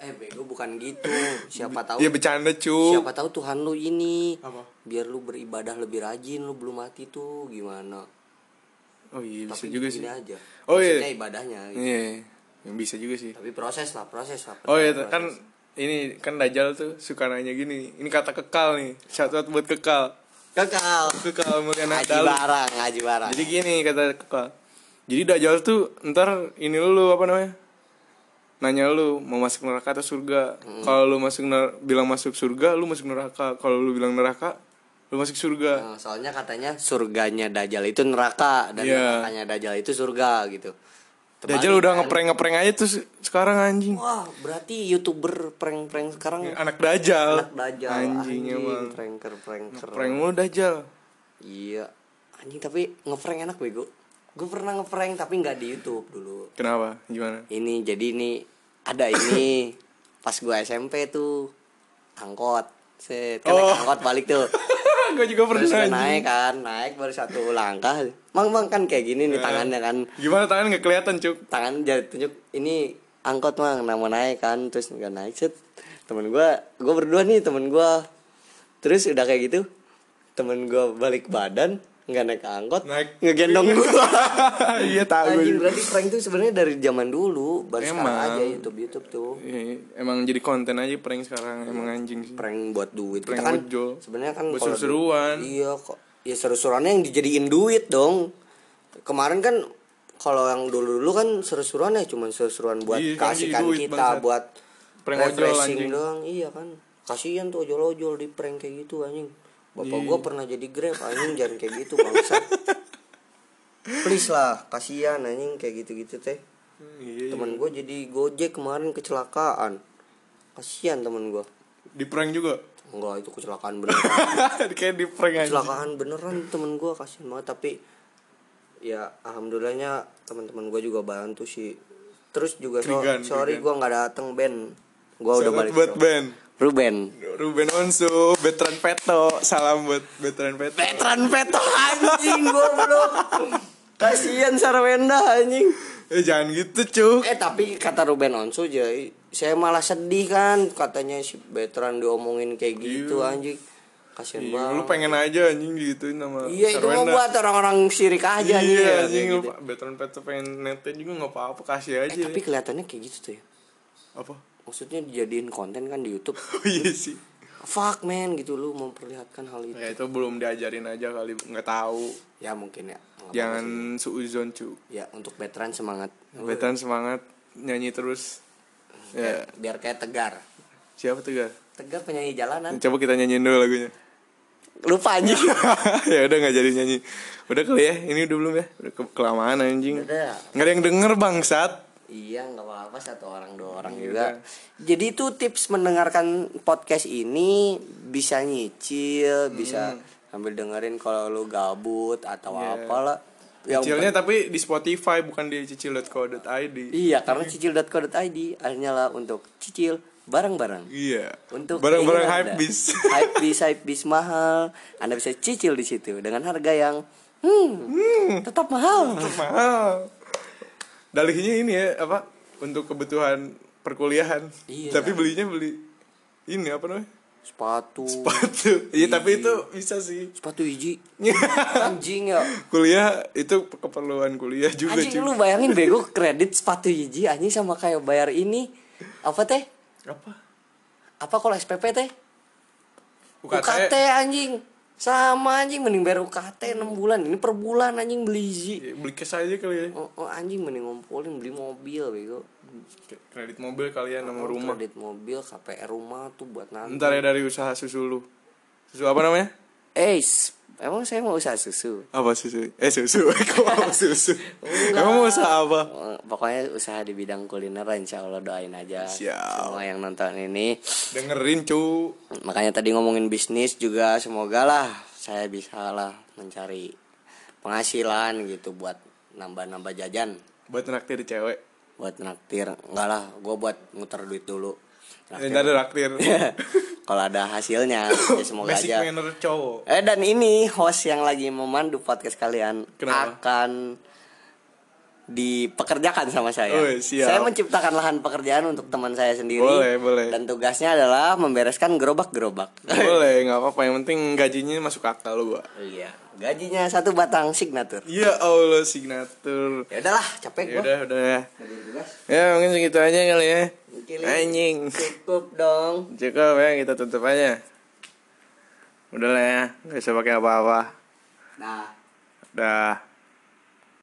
B: eh bego bukan gitu siapa tahu
A: Ya bercanda cu.
B: siapa tahu Tuhan lu ini
A: Apa?
B: biar lu beribadah lebih rajin lu belum mati tuh gimana
A: Oh iya bisa
B: Tapi
A: juga sih.
B: gini aja
A: Oh, iya.
B: Maksudnya ibadahnya gitu.
A: Iya, yang bisa juga sih.
B: tapi proses lah proses lah
A: Oh iya
B: proses.
A: kan ini kan Dajjal tuh suka nanya gini. Ini kata kekal nih. Syarat buat kekal.
B: kekal
A: Kekal mulia
B: ngaji
A: dalam.
B: barang ngaji barang
A: Jadi gini kata kekal. Jadi Dajjal tuh ntar ini lu apa namanya? Nanya lu mau masuk neraka atau surga. Kalau lu masuk ner- bilang masuk surga, lu masuk neraka. Kalau lu bilang neraka, lu masuk surga.
B: Nah, soalnya katanya surganya dajal itu neraka dan
A: Iya.
B: nerakanya dajal itu surga gitu
A: Dajjal udah ngeprank-ngeprank aja tuh se- sekarang anjing.
B: wah berarti youtuber prank-prank sekarang
A: Anak Dajjal.
B: anak dajal
A: Anjing emang.
B: pranker pranker
A: Prank lu Dajjal.
B: iya anjing tapi ngeprank enak bego gue pernah ngeprank tapi nggak di YouTube dulu
A: Kenapa? Gimana?
B: ini jadi ini ada ini pas gue SMP tuh angkot set kan naik
A: Oh.
B: angkot balik tuh
A: gue juga pernah
B: terus gua
A: anjing.
B: naik kan naik baru satu langkah mang mang kan kayak gini
A: Nah.
B: nih tangannya kan
A: Gimana tangan nggak kelihatan cuk?
B: tangan jari tunjuk ini angkot mang nama naik kan terus nggak naik set temen gue gue berdua nih temen gue terus udah kayak gitu temen gue balik badan nggak naik ke angkot
A: Naik.
B: ngegendong gue
A: Iya tahu. gua.
B: anjing berarti prank tuh sebenarnya dari zaman dulu baru sekarang
A: Emang.
B: aja YouTube YouTube tuh
A: Iya, Emang jadi konten aja prank sekarang emang anjing sih.
B: prank buat duit
A: Prank
B: kita kan
A: ojol.
B: sebenarnya kan
A: Buat
B: kalau du-
A: seru-seruan.
B: iya kok ya seru-seruannya yang dijadiin duit dong kemarin kan kalau yang dulu-dulu kan seru-seruan ya cuman seru-seruan buat
A: Iya, kan jadi
B: kasihkan
A: duit,
B: kita
A: bangsat.
B: buat
A: Prank ojol,
B: refreshing
A: anjing.
B: doang iya kan kasihan tuh ojol-ojol di prank kayak gitu anjing bapak
A: Iya.
B: gua pernah jadi grab anjing jangan kayak gitu bangsa please lah kasihan anjing kayak gitu-gitu teh
A: Iya.
B: temen gua jadi gojek kemarin kecelakaan kasihan temen gua
A: Di prank juga.
B: Enggak itu kecelakaan beneran
A: Kayak di prank aja.
B: Kecelakaan beneran temen gue kasihan banget Tapi ya alhamdulillahnya teman-teman gue juga bantu sih Terus juga so-
A: Keringan,
B: sorry gue gak dateng band Gue udah balik
A: buat
B: ke-
A: Ben.
B: Lu band
A: Ruben Onsu, Betran Peto, salam buat Betran Peto.
B: Veteran peto anjing goblok Kasian Sarwenda anjing
A: Eh jangan gitu, Cuk.
B: Eh tapi kata Ruben Onsu jadi saya malah sedih kan katanya si veteran diomongin kayak gitu anjing kasihan
A: Iya,
B: banget
A: Lu pengen aja anjing digituin sama
B: Iya itu mah
A: Sarwenda.
B: buat orang-orang sirik aja anjing, ya,
A: Iya,
B: kayak
A: anjing lu
B: gitu.
A: Betran Peto pengen netin juga nggak apa-apa, kasih
B: Eh,
A: aja.
B: tapi kelihatannya kayak gitu tuh ya.
A: Apa?
B: Maksudnya dijadiin konten kan di YouTube.
A: Oh iya sih.
B: Fuck man gitu lu memperlihatkan hal itu.
A: Ya itu belum diajarin aja kali nggak tahu.
B: Ya mungkin
A: Iya.
B: ya. Nggak apa-apa
A: Jangan suuzon, Cuk.
B: sih. Ya untuk veteran semangat.
A: Betan semangat nyanyi terus. Ya,
B: Kayak- Biar kayak tegar.
A: siapa tuh Gar?
B: Tegar penyanyi jalanan.
A: Coba kita nyanyiin dulu lagunya.
B: Lupa anjing.
A: ya udah nggak jadi nyanyi. Udah kali ya, ini udah belum ya? Udah ke- kelamaan anjing.
B: Udah.
A: Nggak ada yang denger bangsat.
B: Iya nggak apa-apa satu orang dua orang juga. Jadi itu tips mendengarkan podcast ini bisa nyicil, bisa sambil dengerin kalau lu gabut atau Ya, apalah. Yang
A: Cicilnya tapi di Spotify bukan di cicil.co.id.
B: Iya, karena cicil.co.id akhirnya lah untuk cicil barang-barang.
A: Iya.
B: Untuk
A: barang-barang
B: keinginan
A: hype
B: Anda.
A: bis.
B: hype bis, hype bis mahal. Anda bisa cicil di situ dengan harga yang hmm, tetap mahal.
A: Mahal. Dalihnya ini ya apa? Untuk kebutuhan perkuliahan.
B: Iya.
A: Tapi belinya beli ini apa namanya?
B: Sepatu,
A: Sepatu. Iya, tapi itu bisa sih.
B: sepatu hiji. Anjing ya.
A: kuliah itu keperluan kuliah juga cuy.
B: Anjing lu bayangin bego kredit sepatu hiji anjing sama kayak bayar ini apa teh?
A: apa
B: Apa kalau SPP teh?
A: UKT,
B: UKT anjing. Sama anjing mending bayar UKT 6 bulan. Ini per bulan anjing beli Easy.
A: Ya, beli cash aja kali ya
B: Oh, oh, anjing mending ngompolin beli mobil bego.
A: Kayak kredit mobil kalian sama rumah
B: Oh, Kredit mobil, KPR rumah tuh buat nanti.
A: ntar ya dari usaha susu lu susu apa namanya
B: Eh, emang saya mau usaha susu.
A: apa susu eh susu kok apa susu emang mau usaha apa
B: Eh, Pokoknya usaha di bidang kuliner insya Allah doain aja
A: Siap.
B: semua yang nonton ini.
A: dengerin cu
B: Makanya tadi ngomongin bisnis juga semoga lah saya bisa lah mencari penghasilan gitu buat nambah-nambah jajan
A: buat naktir cewek
B: buat naktir enggak lah gue buat muter duit dulu
A: Eh, ntar ada naktir
B: kalau ada hasilnya ya semoga
A: basic
B: aja
A: manner cowok
B: Eh dan ini host yang lagi memandu podcast kalian
A: Kenapa?
B: akan dipekerjakan sama saya.
A: Oh, siap.
B: Saya menciptakan lahan pekerjaan untuk teman saya sendiri.
A: Boleh, boleh.
B: Dan tugasnya adalah membereskan gerobak-gerobak.
A: boleh nggak apa-apa yang penting gajinya masuk akal gua
B: Iya. Gajinya satu batang signatur.
A: ya allah signatur
B: Ya udahlah, capek
A: ya
B: gua.
A: udah udah ya
B: Dari tugas.
A: ya mungkin segitu aja kali ya
B: Mungkin ini
A: anjing
B: Cukup dong.
A: cukup ya kita tutup aja udah lah ya nggak usah pakai apa-apa
B: Nah.
A: dah